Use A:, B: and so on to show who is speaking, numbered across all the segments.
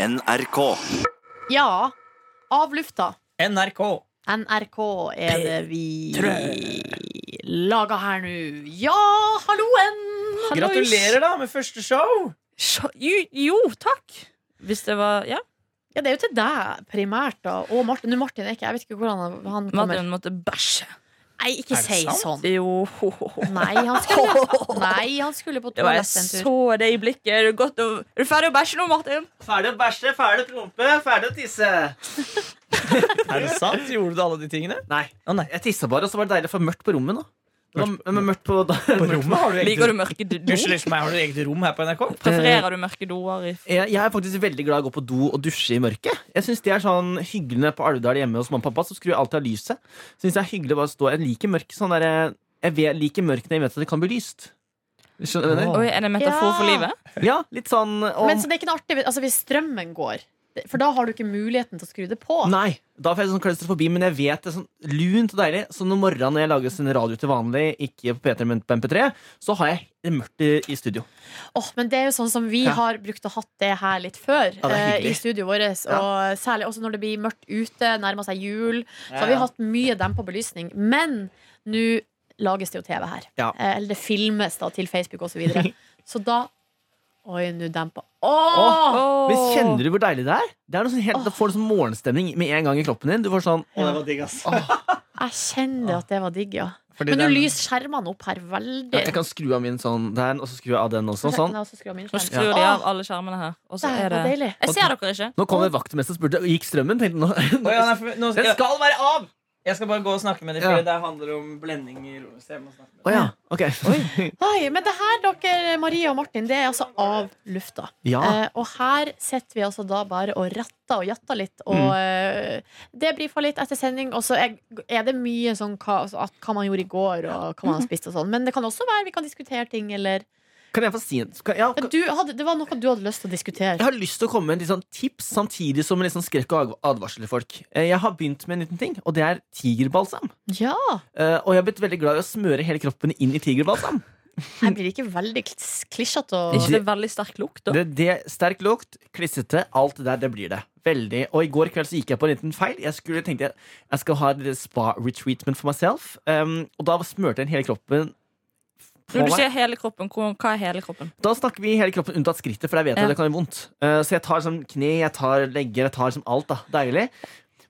A: NRK.
B: Ja. Av lufta.
C: NRK.
B: NRK er det vi laga her nå. Ja, halloen!
C: Gratulerer da med første show!
D: Sj- Jo, jo, takk! Hvis det var Ja.
B: Ja, det er jo til deg primært, da. Og Martin. Nå, Martin er ikke Jeg vet ikke hvordan han- han kommer.
D: Madrun måtte bæsje.
B: Nei, ikke
C: Er det
B: si
C: sant?
B: sånn.
D: Jo.
B: Nei, han skulle, nei, han skulle på
D: Det var, jeg
B: toalettet en tur.
D: så det i blikket. Er du, godt, å- er du ferdig å bæsje nå, Martin?
E: Ferdig å bæsje, ferdig å prompe, ferdig å tisse.
C: Er det sant? Gjorde du alle de tingene?
E: Nei,
C: Å nei.
E: jeg tissa bare, og så var det deilig å få mørkt på rommet nå. Det var,
C: Mørkt
E: men mørkt på,
C: På rommet har du
D: Liker du
C: eget
D: mørke do?
C: Unnskyld meg, har du eget rom her på NRK?
D: Prefererer du mørke doer? i-
E: Jeg, jeg er faktisk veldig glad i å gå på do og dusje i mørket. Jeg synes det er sånn hyggelig når jeg er på Alvdal hjemme hos mamma og pappa, så skrur jeg alltid av lyset. Synes det er hyggelig å bare stå Jeg liker mørket sånn der, Jeg vet, liker mørket når jeg vet at det kan bli lyst. Skjønner du? hva jeg mener?
D: Oi, er det en metafor for
B: Ja.
D: livet?
E: Ja, litt sånn og,
B: Men så det er ikke noe artig altså, hvis strømmen går. det- For da har du ikke muligheten til å skru det på.
E: Nei, da får jeg sånn klaustrofobi, men jeg vet det er sånn lunt og deilig. Så når morgenen når jeg lager sin radio til vanlig, ikke på P3, men på MP3, så har jeg det mørkt i- i studio.
B: Åh, men det er jo sånn som vi
E: Ja.
B: har brukt å hatt det her litt før
E: det er
B: eh,
E: hyggelig.
B: i studioet vårt. Og særlig også når det blir mørkt ute, nærmer seg jul. Så har vi hatt mye dempa belysning. Men nå lages det jo TV her.
E: Ja.
B: Eh, Eller det filmes da til Facebook osv. Så, videre. så da Oi, nå dempa Å!
D: Åh.
E: Men kjenner du hvor deilig det er? Det er noe sånn helt, Da får du sånn morgenstemning med en gang i kroppen din. Du får sånn
C: Å, det var digg, ass.
B: Jeg kjenner at det var digg, ja.
C: Fordi
B: Men nå
C: den-
B: lyser skjermene opp her veldig.
E: Jeg kan skru av min sånn der, og så skru av den også. Sånn.
B: Nei, og så skrur jeg min
D: Nå
B: skjerm.
D: skrur de
B: Åh,
D: av alle skjermene her. Og så
B: det
D: er
B: var
D: det
B: deilig.
D: Jeg ser dere ikke.
E: Nå kommer vaktmester og spurte gikk strømmen. Tenkte, nå,
C: Å, ja, nei, for, nå,
E: Den
C: skal være av! Jeg skal bare gå og snakke med dem,
E: Ja.
C: for det handler om blending i rommet. Så jeg må snakke med dem.
E: Å ja, ok.
B: Oi, men det her, dere, Maria og Martin, det er altså av lufta.
E: Ja.
B: Eh, og her sitter vi altså da bare og ratter og jatter litt. Og eh, det brifer litt etter sending. Og så er, er det mye sånn hva, altså, at, hva man gjorde i går, og hva man har spist og sånn. Men det kan også være vi kan diskutere ting, eller
E: Kan jeg få si en kan, ja,
B: ja,
E: kan,
B: du hadde, Det var noe du hadde lyst til å
E: Jeg
B: diskutere.
E: har lyst til å komme med en litt sånn tips samtidig som en litt sånn skrekk og adv- advarsel til folk. Eh, Jeg har begynt med en liten ting, og det er tigerbalsam.
B: Ja!
E: Eh, og jeg har blitt veldig glad i å smøre hele kroppen inn i tigerbalsam.
B: Jeg blir ikke veldig klis- klisjete og
D: Er ikke det veldig sterk lukt? da?
E: Det, det Sterk lukt, klissete, alt det der, det blir det. Veldig. Og i går kveld så gikk jeg på en liten feil. Jeg skulle tenkte jeg, jeg skal ha et spa retreatment for myself. Um, og da smurte jeg hele kroppen. på
D: Når du
E: meg.
D: sier hele kroppen, hvor- hva er hele kroppen?
E: Da snakker vi hele kroppen unntatt skrittet, for jeg vet
D: Ja.
E: at det kan gjøre vondt. Eh, så jeg tar sånn kne, jeg tar legger, jeg tar som alt. da, Deilig.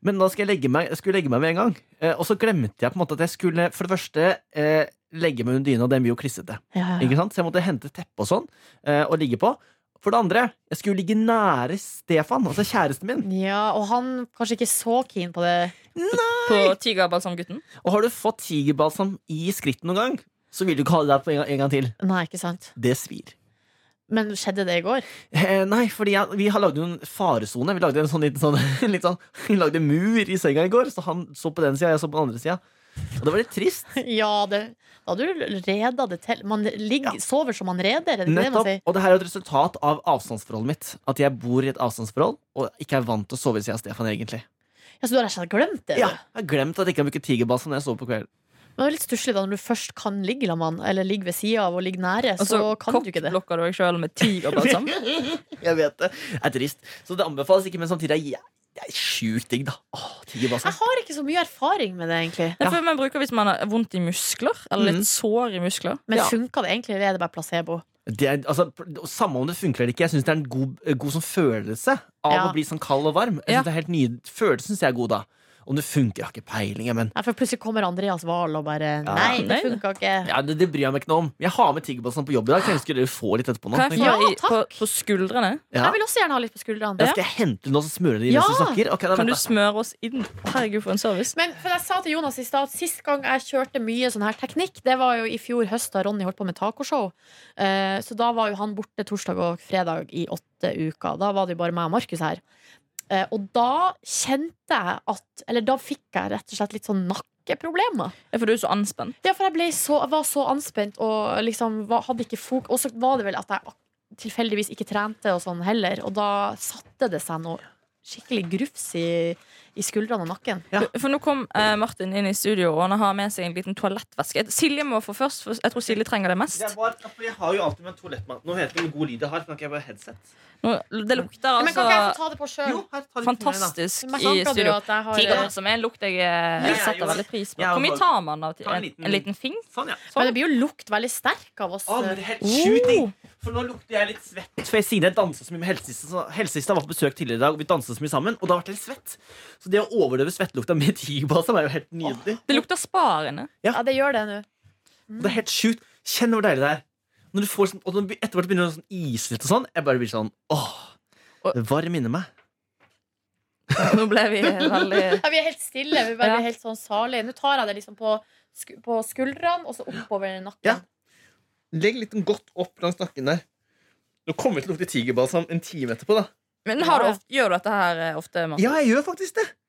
E: Men da skal jeg legge meg, jeg skulle legge meg med en gang. Eh, og så glemte jeg på en måte at jeg skulle for det første eh, legge meg under dyna, og den blir jo klissete.
B: ja, ja.
E: Ikke sant? Så jeg måtte hente teppe og sånn eh, og ligge på. For det andre, jeg skulle ligge nære Stefan, altså kjæresten min.
B: ja, og han kanskje ikke så keen på det.
D: På tigerbalsamgutten?
E: Og har du fått tigerbalsam i skrittet noen gang, så vil du ikke ha det der på en gang, en gang til.
B: Nei, ikke sant?
E: Det svir.
B: Men skjedde det i går?
E: Eh, nei, fordi jeg, vi har lagd en faresone. Vi lagde en sånn liten sånn, litt sånn Vi lagde en mur i senga i går, så han så på den sida, jeg så på den andre sida. Og det var litt trist.
B: Ja, det, da hadde du reda det til. Man ligger, sover som man reder. Er det ikke det man
E: Nettopp.
B: sier?
E: Og det her er et resultat av avstandsforholdet mitt. At jeg bor i et avstandsforhold og ikke er vant til å sove ved siden av Stefan, egentlig.
B: Ja, så du har rett og slett glemt det?
E: Ja,
B: du.
E: jeg har glemt at jeg ikke har brukt tigerbalsam når jeg sover på kvelden.
B: Men det er litt stusslig da når du først kan ligge la man, eller ligge ved sida av og ligge nære,
D: Og
B: så
E: Altså,
D: så
B: kan du ikke det.
D: kokkblokker du deg sjøl med tigerbalsam?
E: Jeg vet det. Det er trist. Så det anbefales ikke, men samtidig er jeg, det er sjukt digg, da. Åh, tigerbalsam.
B: Jeg har ikke så mye erfaring med det, egentlig.
D: Det er for man bruker hvis man har vondt i muskler, eller
E: Mhm.
D: litt sår i muskler.
B: Men
E: Ja.
B: funka det egentlig, eller er det bare placebo?
E: Det er, altså, pr- samme om det funker eller ikke, jeg syns det er en god, god sånn følelse av
B: Ja.
E: å bli sånn kald og varm. Jeg synes
D: Ja.
E: det er helt nye, Følelsen syns jeg er god, da. Om det funker, jeg har ikke peiling. jeg, Men
B: Nei, for plutselig kommer Andreas Wahl og bare Nei, det
D: Nei, det-
B: funka ikke.
E: ja, det, det bryr jeg meg ikke noe om. Jeg har med tiggerbalsam på jobb i dag. Jeg ønsker dere får litt etterpå nå.
D: Kan jeg få
B: Ja,
D: i, på,
B: takk.
D: på skuldrene?
E: Ja.
B: Jeg vil også gjerne ha litt på skuldrene.
E: Ja, skal jeg hente den og så smøre den i
B: Ja!
E: mens du snakker? Ok, da,
D: Kan du
E: vent da.
D: smøre oss inn? Herregud, for en service.
B: Men for jeg sa til Jonas i stad at Sist gang jeg kjørte mye sånn her teknikk, det var jo i fjor høst da Ronny holdt på med tacoshow. Eh, så da var jo han borte torsdag og fredag i åtte uker. Da var det jo bare meg og Markus her. Eh, og da kjente jeg at Eller da fikk jeg rett og slett litt sånn nakkeproblemer.
D: Ja, for du er så anspent.
B: Ja, for jeg, ble så, jeg var så anspent og liksom var, hadde ikke fok Og så var det vel at jeg ak- tilfeldigvis ikke trente og sånn heller, og da satte det seg noe skikkelig grufs i, i skuldrene og nakken.
D: For nå kom eh, Martin inn i studio, og han har med seg en liten toalettveske. Silje må få først, for jeg tror Silje trenger det mest.
E: jeg har jo alltid med en toalettmat. Nå vet jeg hvor god lyd jeg har. Kan ikke jeg bare headset?
D: Nå, det lukter
B: Men kan ikke jeg få
D: altså
B: ta det på sjøl?
D: fantastisk i
B: Merka du
D: studio.
B: at jeg har
D: Tigerhår som er en lukt jeg eh,
E: jeg
D: setter
E: gjorde-
D: veldig pris på.
E: jeg
D: Hvor mye
E: bare-
D: tar man av ti-
E: Ta en
D: en,
E: liten-
D: en liten fing?
E: Sånn, ja.
B: Men det blir jo lukt veldig sterk av oss. eh.
E: Å, men det er helt
B: Oh.
E: sjukt, jeg. For nå lukter jeg litt svett. For jeg, siden jeg danset så mye med helsesista, så helsesista var på besøk tidligere i dag, og vi danset så mye sammen, og da ble jeg litt svett. Så det å overdøve svettelukta med tigerbase var jo helt nydelig.
D: Det lukter spa inne.
B: Ja, det gjør det nå. mm.
E: Og Det er helt sjukt. Kjenn hvor deilig det er. Når du får sånn, og når du- etter hvert begynner det å sånn ise litt og sånn, jeg bare blir sånn åh. Det varm inni meg.
D: Nå ble vi veldig
B: Ja, vi er helt stille. Vi bare
D: Ja.
B: blir helt sånn salige. Nå tar jeg det liksom på, sku på skuldrene og så oppover nakken.
E: Ja. Legg litt godt opp langs nakken der. Nå kommer det til å lukte tigerbalsam en time etterpå, da.
D: Men har du ofte, gjør du dette her eh, ofte, Martin?
E: Ja, jeg gjør faktisk det.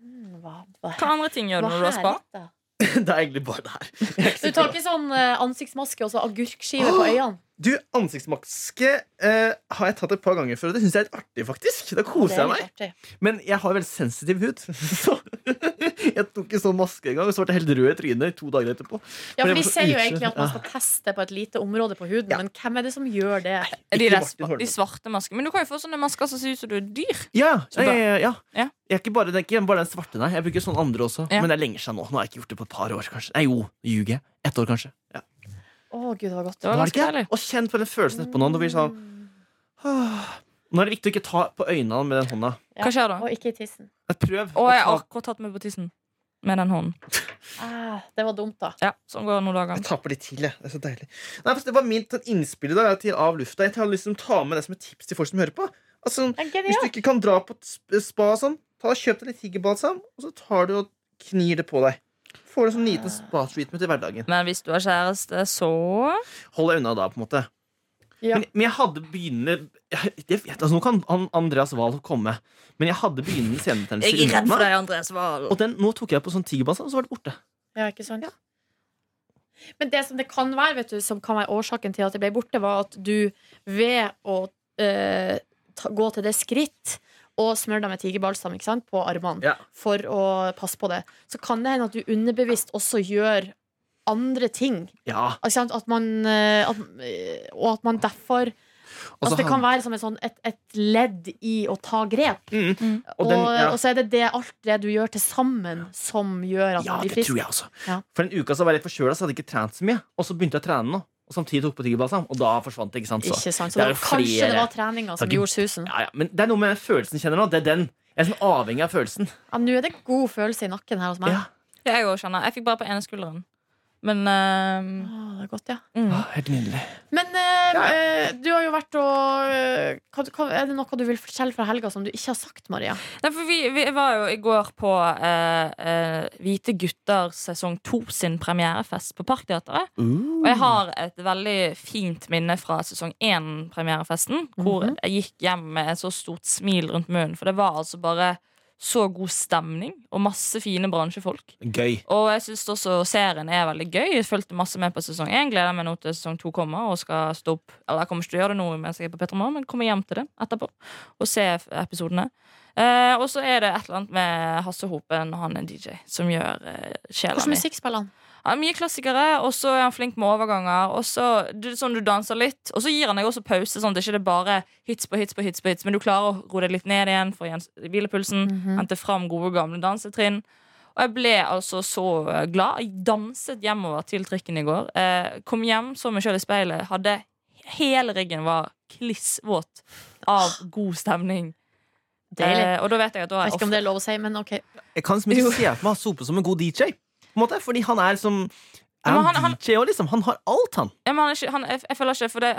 B: Mm, Hva, hva,
D: Hva andre ting gjør du
B: hva
D: når du har spa?
B: helvete?
E: Det er egentlig bare det her. Jeg er ikke
B: Du
E: så
B: tar
E: glad.
B: ikke sånn eh, ansiktsmaske og så agurkskive på øynene?
E: Du, ansiktsmaske eh, har jeg tatt et par ganger før, og det syns jeg er litt artig, faktisk. Da
B: Det
E: koser
B: er
E: jeg meg.
B: litt artig.
E: Men jeg har veldig sensitiv hud, så jeg tok ikke sånn maske engang, og så ble jeg helt rød i trynet to dager etterpå.
B: Ja, for De
E: Men jeg får
B: sier jo
E: utslett.
B: egentlig at man skal teste på et lite område på huden,
E: Ja.
B: men hvem er det som gjør det?
D: De,
E: Ikke
D: der,
E: Martin
D: spa-
E: Holmen.
D: de svarte maskene. Men du kan jo få sånne masker som ser ut som du er dyr.
E: Ja,
D: Så bra.
E: ja, ja, ja, ja.
D: Ja.
E: Jeg er ikke bare, det er ikke bare den svarte, nei. Jeg bruker sånne andre også.
D: Ja.
E: Men det er lenge siden nå. Nå har jeg ikke gjort det på et par år, kanskje. Nei, jo, nå ljuger jeg. Ett år, kanskje. Ja.
B: Å, gud, det var godt. Mm.
D: Det var
E: Var
D: ganske
E: det ikke?
D: deilig.
E: Og kjenn på den følelsen etterpå nå. Når vi sånn, «Åh». nå er det viktig å ikke ta på øynene med den hånda.
B: Ja.
D: Hva skjer da?
B: Og ikke i tissen.
E: Prøv.
D: Å,
E: å
D: jeg har
E: ta-
D: akkurat tatt meg på tissen med den hånden.
B: Ah, det var dumt, da.
D: Ja, sånn går det noen dager.
E: Jeg taper litt til, jeg. Det er så deilig. Nei, for det var mitt sånn innspill i dag. Til av lufta. Jeg har lyst til å ta med det som et tips til folk som hører på. Altså,
B: Ja,
E: Hvis
B: Genialt.
E: du ikke kan dra på et sp- spa og sånn, ta og kjøp deg litt tigerbalsam, og så tar du og knir det på deg. Får du en sånn liten spa-treatment i hverdagen.
D: Men hvis du har kjæreste, så
E: Hold deg unna da, på en måte.
B: Ja.
E: Men, men jeg hadde begynnende jeg, jeg vet, altså, Nå kan han, Andreas Wahl komme, men jeg hadde begynnende senebetennelse. i munnen.
D: deg, Andreas Wahl.
E: Og den, nå tok jeg på sånn tigerbalsam, og så var det borte.
B: Ja, ikke sant? Men det som det kan være, vet du, som kan være årsaken til at det ble borte, var at du ved å eh, ta, gå til det skritt og smøre deg med tigerbalsam ikke sant, på armene
E: Ja.
B: for å passe på det, så kan det hende at du underbevisst også gjør andre ting.
E: Ja,
B: Ikke sant? At man, eh, at, eh, og at man derfor
E: og så
B: At det
E: han-
B: kan være som et, sånn, et, et ledd i å ta grep.
E: Mm,
B: Og,
E: og den, ja.
B: og så er det, det alt det du gjør til sammen, som gjør at
E: ja,
B: man blir
E: det
B: frisk.
E: tror jeg også.
B: Ja.
E: For en uke så var jeg litt forkjøla, så hadde jeg ikke trent så mye. Og så begynte jeg å trene nå, og samtidig tok på tigerbalsam, og da forsvant det. ikke sant? Så.
B: Ikke sant? Så
E: det
B: det var,
E: er jo
B: kanskje
E: flere-
B: det var treninga som
E: Takk.
B: gjorde susen.
E: Ja, ja, men det er noe med den følelsen jeg kjenner nå. Det er den. Jeg er sånn avhengig av følelsen.
B: Ja, Nå er det god følelse i nakken her hos meg.
E: Ja.
D: Jeg òg kjenner. Jeg fikk bare på ene skulderen. Men eh,
B: Ah, det er godt, ja.
D: mm.
E: Åh, Helt nydelig.
B: Men eh,
E: Ja, ja.
B: eh, du har jo vært og eh, hva, hva, Er det noe du vil fortelle fra helga som du ikke har sagt, Maria?
D: Nei, for vi, vi var jo i går på eh, eh, Hvite gutter sesong 2 sin premierefest på Parkteatret.
E: Uh.
D: Og jeg har et veldig fint minne fra sesong 1-premierefesten. Hvor
B: Mhm.
D: jeg gikk hjem med et så stort smil rundt munnen. For det var altså bare så god stemning og masse fine bransjefolk.
E: Gøy.
D: Og jeg syns også serien er veldig gøy. Jeg fulgte masse med på sesong 1. Gleder meg nå til sesong 2 kommer og skal stå opp. Eller jeg kommer ikke til å gjøre det nå mens jeg er på Petra Moore, men kommer hjem til det etterpå og se f- episodene. Eh, og så er det et eller annet med Hasse Hopen, han er DJ, som gjør eh, sjela
B: Hvordan
D: mi.
B: musikk spiller han?
D: Ja, mye klassikere, og så er han flink med overganger. Og så du, sånn du danser litt Og så gir han deg også pause, sånn at det ikke er bare hits på hits på hits, på hits men du klarer å roe deg litt ned igjen, få igjen hvilepulsen, hente fram gode, gamle dansetrinn. Og jeg ble altså så eh, glad. Jeg danset hjemover til trikken i går. Eh, kom hjem, så meg sjøl i speilet, hadde Hele ryggen var klissvåt av god stemning.
B: Deilig.
D: Eh, og da vet jeg at da har
B: Jeg
D: jeg
B: vet ikke om det er lov å si, men OK.
E: Jeg kan liksom ikke se for meg Sope som en god DJ. På en måte, fordi han er som
D: Ja,
E: er
D: men
E: han,
D: han- han-
E: DJ også, liksom. Han har alt, han.
D: Ja, men han er ikke, han, jeg, jeg føler ikke For det,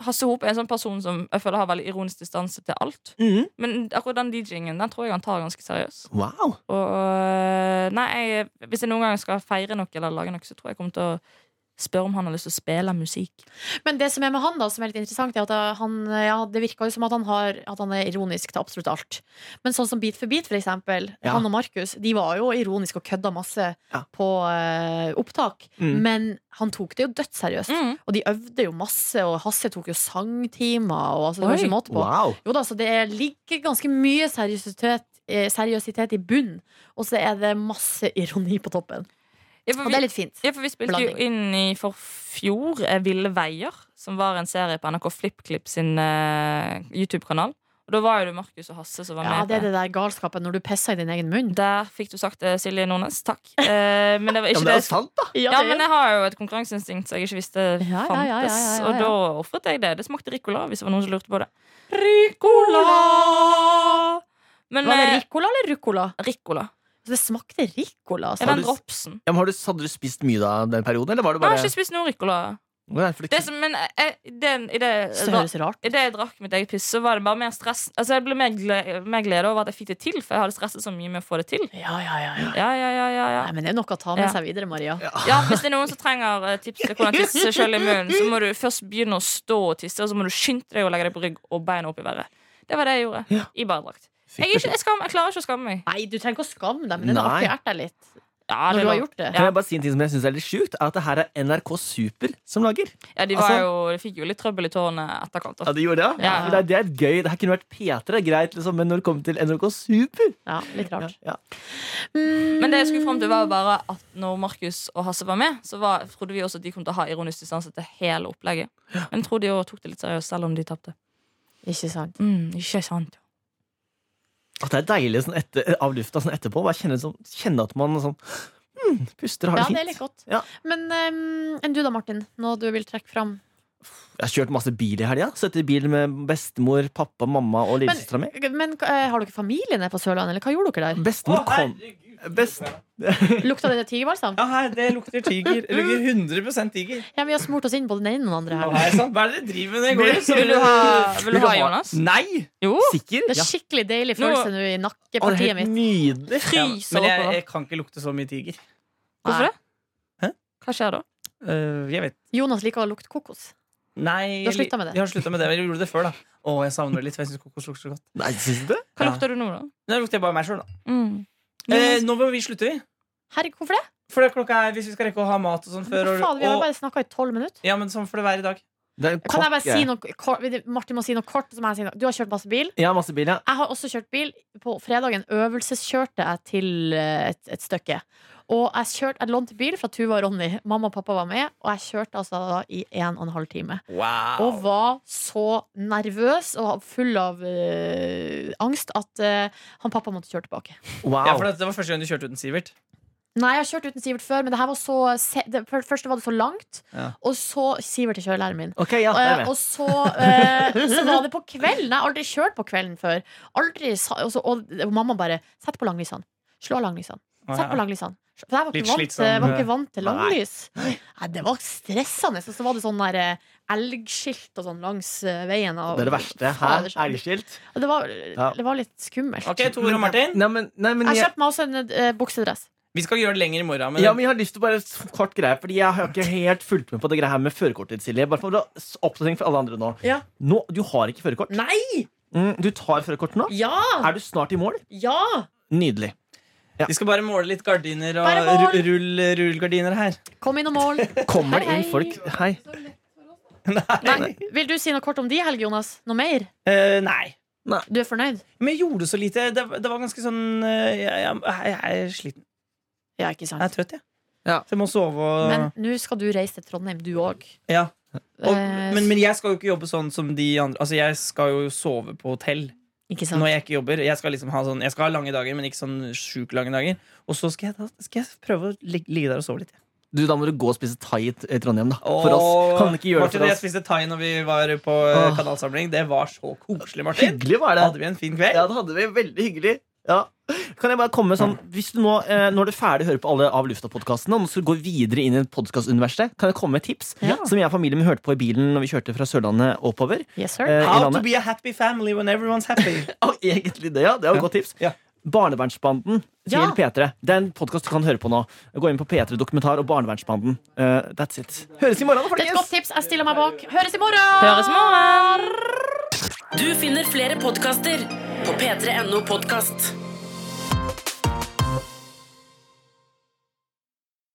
D: Hasse Hop er en sånn person som jeg føler har veldig ironisk distanse til alt. Men akkurat den DJ-ingen den tror jeg han tar ganske seriøst.
E: Wow.
D: Og øh, nei, jeg, Hvis jeg noen gang skal feire noe eller lage noe, så tror jeg jeg kommer til å spørre om han har lyst til å spille musikk.
B: Men det som er med han, da, som er litt interessant, er at eh, han, ja, det virker jo som at han, har, at han er ironisk til absolutt alt. Men sånn som Beat for beat, for eksempel.
E: Ja.
B: Han og Markus de var jo ironiske og kødda masse
E: Ja.
B: på eh, opptak.
E: Mm.
B: Men han tok det jo dødsseriøst. Og de øvde jo masse, og Hasse tok jo sangtimer. Og, altså, det var
D: Oi.
B: ikke måte på.
E: wow.
B: Jo da, så det ligger ganske mye seriøsitet eh, seriøsitet i bunnen, og så er det masse ironi på toppen.
D: Ja,
B: Og
D: for vi-
B: det er litt fint.
D: Ja, for Vi spilte jo
B: Blanding.
D: inn i for fjor eh, Ville veier, som var en serie på NRK FlippKlipp sin eh, YouTube-kanal. Og Da var jo det Markus og Hasse som var
B: Ja,
D: med.
B: det er
D: på.
B: det der galskapen når du pisser i din egen munn.
D: Der fikk du sagt det, Silje Nordnes. Takk. Eh, men det var
E: Ja,
D: ikke
E: men det er
D: det.
E: jo sant, da!
D: Ja, men jeg har jo et konkurranseinstinkt som jeg ikke visste fantes.
B: Ja, ja, ja, ja, ja, ja.
D: Og da ofret jeg det. Det smakte Ricola, hvis det var noen som lurte på det.
B: Ricola!
D: Men
B: Var det
D: eh,
B: Ricola eller Rucola?
D: Ricola.
B: Så Det smakte Ricola.
D: Er
B: Altså.
E: Ja,
D: den
E: du-
D: dropsen?
E: Ja, men har du, hadde du spist mye da den perioden, eller var det
D: Jeg
E: bare
D: har ikke spist noe Ricola.
E: Nei, for det-
D: Det som, men jeg, den, i det,
B: Det høres rart
D: Idet jeg drakk mitt eget piss, så var det bare mer stress. Altså, jeg ble mer glede, mer glede over at jeg fikk det til, for jeg hadde stresset så mye med å få det til.
B: Ja, ja, ja, ja.
D: Ja, ja, ja, ja, ja.
B: Nei, men det er nok å ta med
D: Ja.
B: seg videre, Maria.
D: ja Hvis det er noen som trenger eh, tips til hvordan tisse seg sjøl i munnen, så må du først begynne å stå og tisse, og så må du skynde deg å legge deg på rygg og beina opp i været. Det var det jeg gjorde. I badedrakt. Jeg, er ikke, jeg, skam, jeg klarer ikke å skamme meg.
B: Nei, du trenger ikke å skamme deg, men det er
E: Nei.
B: artig å erte deg litt.
D: Ja,
B: Når
D: det
B: du
D: var,
B: har gjort det.
E: Kan jeg bare si en ting som jeg synes er litt sjukt? Er at det her er NRK Super som lager.
D: ja, de var jo, de fikk jo litt trøbbel i tårene etterkant. da.
E: Ja, de gjorde det?
D: Ja.
E: Men Det, er, det er gøy. Det her kunne vært P3, greit, liksom, men når det kommer til NRK Super
B: Ja, litt
E: ja,
B: rart. Mm.
E: ja.
D: Men det jeg skulle frem til var jo bare at når Markus og Hasse var med, så var, trodde vi også at de kom til å ha ironisk distanse til hele opplegget. Men jeg tror de også tok det litt seriøst, selv om de tapte.
B: Ikke sant.
D: Mm, ikke sant.
E: At det er deilig sånn etter, av lufta sånn etterpå. Bare kjenne, sånn, kjenne at man sånn mm, puster og
B: Ja,
E: har
B: det er
E: det
B: litt
E: fint.
B: godt.
E: Ja.
B: Men ehm, enn du da, Martin? Noe du vil trekke fram?
E: Jeg har kjørt masse bil i helga. Sittet i bil med bestemor, pappa, mamma og lillesøstera mi.
B: Men eh, har dere familie nede på Sørlandet, eller hva gjorde dere der?
E: Bestemor
C: Å,
E: kom
C: herregud.
E: Best.
B: Lukta det tigerbalsam?
C: Ja, her, det lukter tiger. Det lukter 100 tiger.
B: Ja, vi har smurt oss inn både den ene og den andre
C: Å,
B: her.
C: nei, sant? Hva er det dere driver med? når dere går ut?
D: Vil du ha, vil du ha Jonas?
E: Nei!
D: Jo!
E: Sikker?
B: Det er skikkelig deilig følelse nå i
E: Å, det er
B: nakkepartiet
E: helt
B: mitt.
E: nydelig.
D: Fryser
C: Men jeg,
D: oppover.
C: jeg kan ikke lukte så mye tiger.
D: Hvorfor det?
C: Hæ?
D: Hva skjer da?
C: Eh, jeg vet
B: Jonas liker å lukte kokos.
C: Nei,
B: Du har sluttet med det?
C: Jeg har sluttet med det, men jeg gjorde det før, da. Å, jeg savner det litt, for jeg syns kokos lukter så godt.
E: Nei, syns du det?
D: Hva
C: Ja.
D: lukter du nå, da?
C: Nå lukter jeg bare meg sjøl, da.
D: Mm.
C: Eh,
B: altså-
C: nå må vi slutte, vi.
B: Herregud, hvorfor det?
C: For det klokka er, hvis vi skal rekke å ha mat og sånn før
B: For faen, vi har
C: og,
B: jo bare snakka i tolv minutter.
C: Ja, men sånn får det være i dag.
E: det er
B: Kan jeg bare
E: kokk, eh,
B: si noe kort? Martin må si noe kort. Så må jeg si noe. Du har kjørt masse bil.
E: Ja, masse bil, ja.
B: Jeg har også kjørt bil. På fredagen øvelseskjørte jeg til eh, et, et stykke. Og jeg, kjørte, jeg lånte bil fra Tuva og Ronny. Mamma og pappa var med. Og jeg kjørte altså da i en og en halv time. Og var så nervøs og full av eh, angst at eh, han pappa måtte kjøre tilbake.
E: Wow.
C: Ja, for det, det var første gang du kjørte uten Sivert.
B: Nei, jeg har kjørt uten Sivert før, men det her var så se- det, for- Først var det så langt,
C: Ja.
B: og så Sivert er kjørelæreren min.
E: Ok, ja, det er
B: Eh,
E: med.
B: og så, eh, så var det på kvelden. Jeg har aldri kjørt på kvelden før. Aldri, sa- og, så, og, og mamma bare Sett på langlysene. Slå av langlysene.
C: Å,
B: Sett på
C: ja.
B: langlysene. For jeg var
C: Litt
B: ikke, vant,
C: slitsom,
B: jeg var
C: eh,
B: ikke vant til
E: nei.
B: langlys. Nei, det var stressende. Og så var det sånn der eh, elgskilt og sånn langs eh, veien. Og,
E: Det er det verste. Her,
B: Fader, så-
E: elgskilt.
B: Og det, var,
E: Ja.
B: det var litt skummelt.
C: Ok, Tor og Martin.
E: Nei, men, nei, men
B: Jeg
E: jeg,
B: kjøpte meg også en eh, buksedress.
C: Vi skal gjøre det lenger i morgen. Men,
E: ja, men jeg har lyst til å bare s- kort greie, Fordi jeg har ikke helt fulgt med på det greia her med førerkortet. ditt, Silje Bare for å s- oppdatering for alle andre nå.
B: Ja.
E: nå du har ikke førerkort.
B: Nei!
E: Mm, du tar førerkort nå.
B: Ja!
E: Er du snart i mål?
B: Ja!
E: Nydelig.
C: Vi skal bare måle litt gardiner og
B: Bare mål.
C: ru- rull, rullgardiner her.
B: Kom inn og mål.
E: Kommer det
B: Hei,
E: inn
B: hei.
E: folk Hei.
B: Nei, vil du si noe kort om de, Helge Jonas? Noe mer?
C: Eh, nei.
B: Du er fornøyd?
C: Men jeg gjorde så lite. Det, det var ganske sånn eh, jeg, jeg, jeg er sliten.
B: Ja, ikke sant?
C: Jeg er trøtt, jeg.
E: Ja.
C: Så jeg må sove og
B: Men nå skal du reise til Trondheim, du òg.
C: ja. og,
B: Eh,
C: men, men jeg skal jo ikke jobbe sånn som de andre. Altså, jeg skal jo sove på hotell
B: Ikke sant?
C: når jeg ikke jobber. Jeg skal, liksom ha sånn, jeg skal ha lange dager, men ikke sånn sjukt lange dager. Og så skal jeg, da, skal jeg prøve å ligge, ligge der og sove litt. jeg.
E: Du, Da må du gå og spise thai i t- i Trondheim, da. For oss. Kan du ikke gjøre det
C: Martin og
E: for
C: jeg
E: oss?
C: spiste thai når vi var på eh,
E: Åh.
C: kanalsamling. Det var så koselig, Martin.
E: Hyggelig var det.
C: Hadde vi en fin kveld?
E: Ja, det hadde vi. Veldig hyggelig. Ja. Kan jeg bare komme med sånn Hvis du nå, eh, Når du er ferdig å høre på alle Av lufta-podkastene og nå skal du gå videre inn i podkastuniverset, kan jeg komme med et tips
B: Ja.
E: som jeg og familien min hørte på i bilen når vi kjørte fra Sørlandet oppover?
B: Yes, sir.
E: Eh, i
C: How to
E: landet.
C: be a happy family when everyone's happy.
E: Å, egentlig det, ja. Det er jo et godt tips.
C: Ja.
E: Barnevernsbanden til
B: Ja.
E: P3. Det er en podkast du kan høre på nå. Gå inn på P3 Dokumentar og Barnevernsbanden. Eh, that's it. Høres i morgen, da,
B: Det er et
E: folkens!
B: godt tips. Jeg stiller meg bak. Høres i morgen!
D: Høres i morgen!
A: Du finner flere podkaster på p3.no podkast.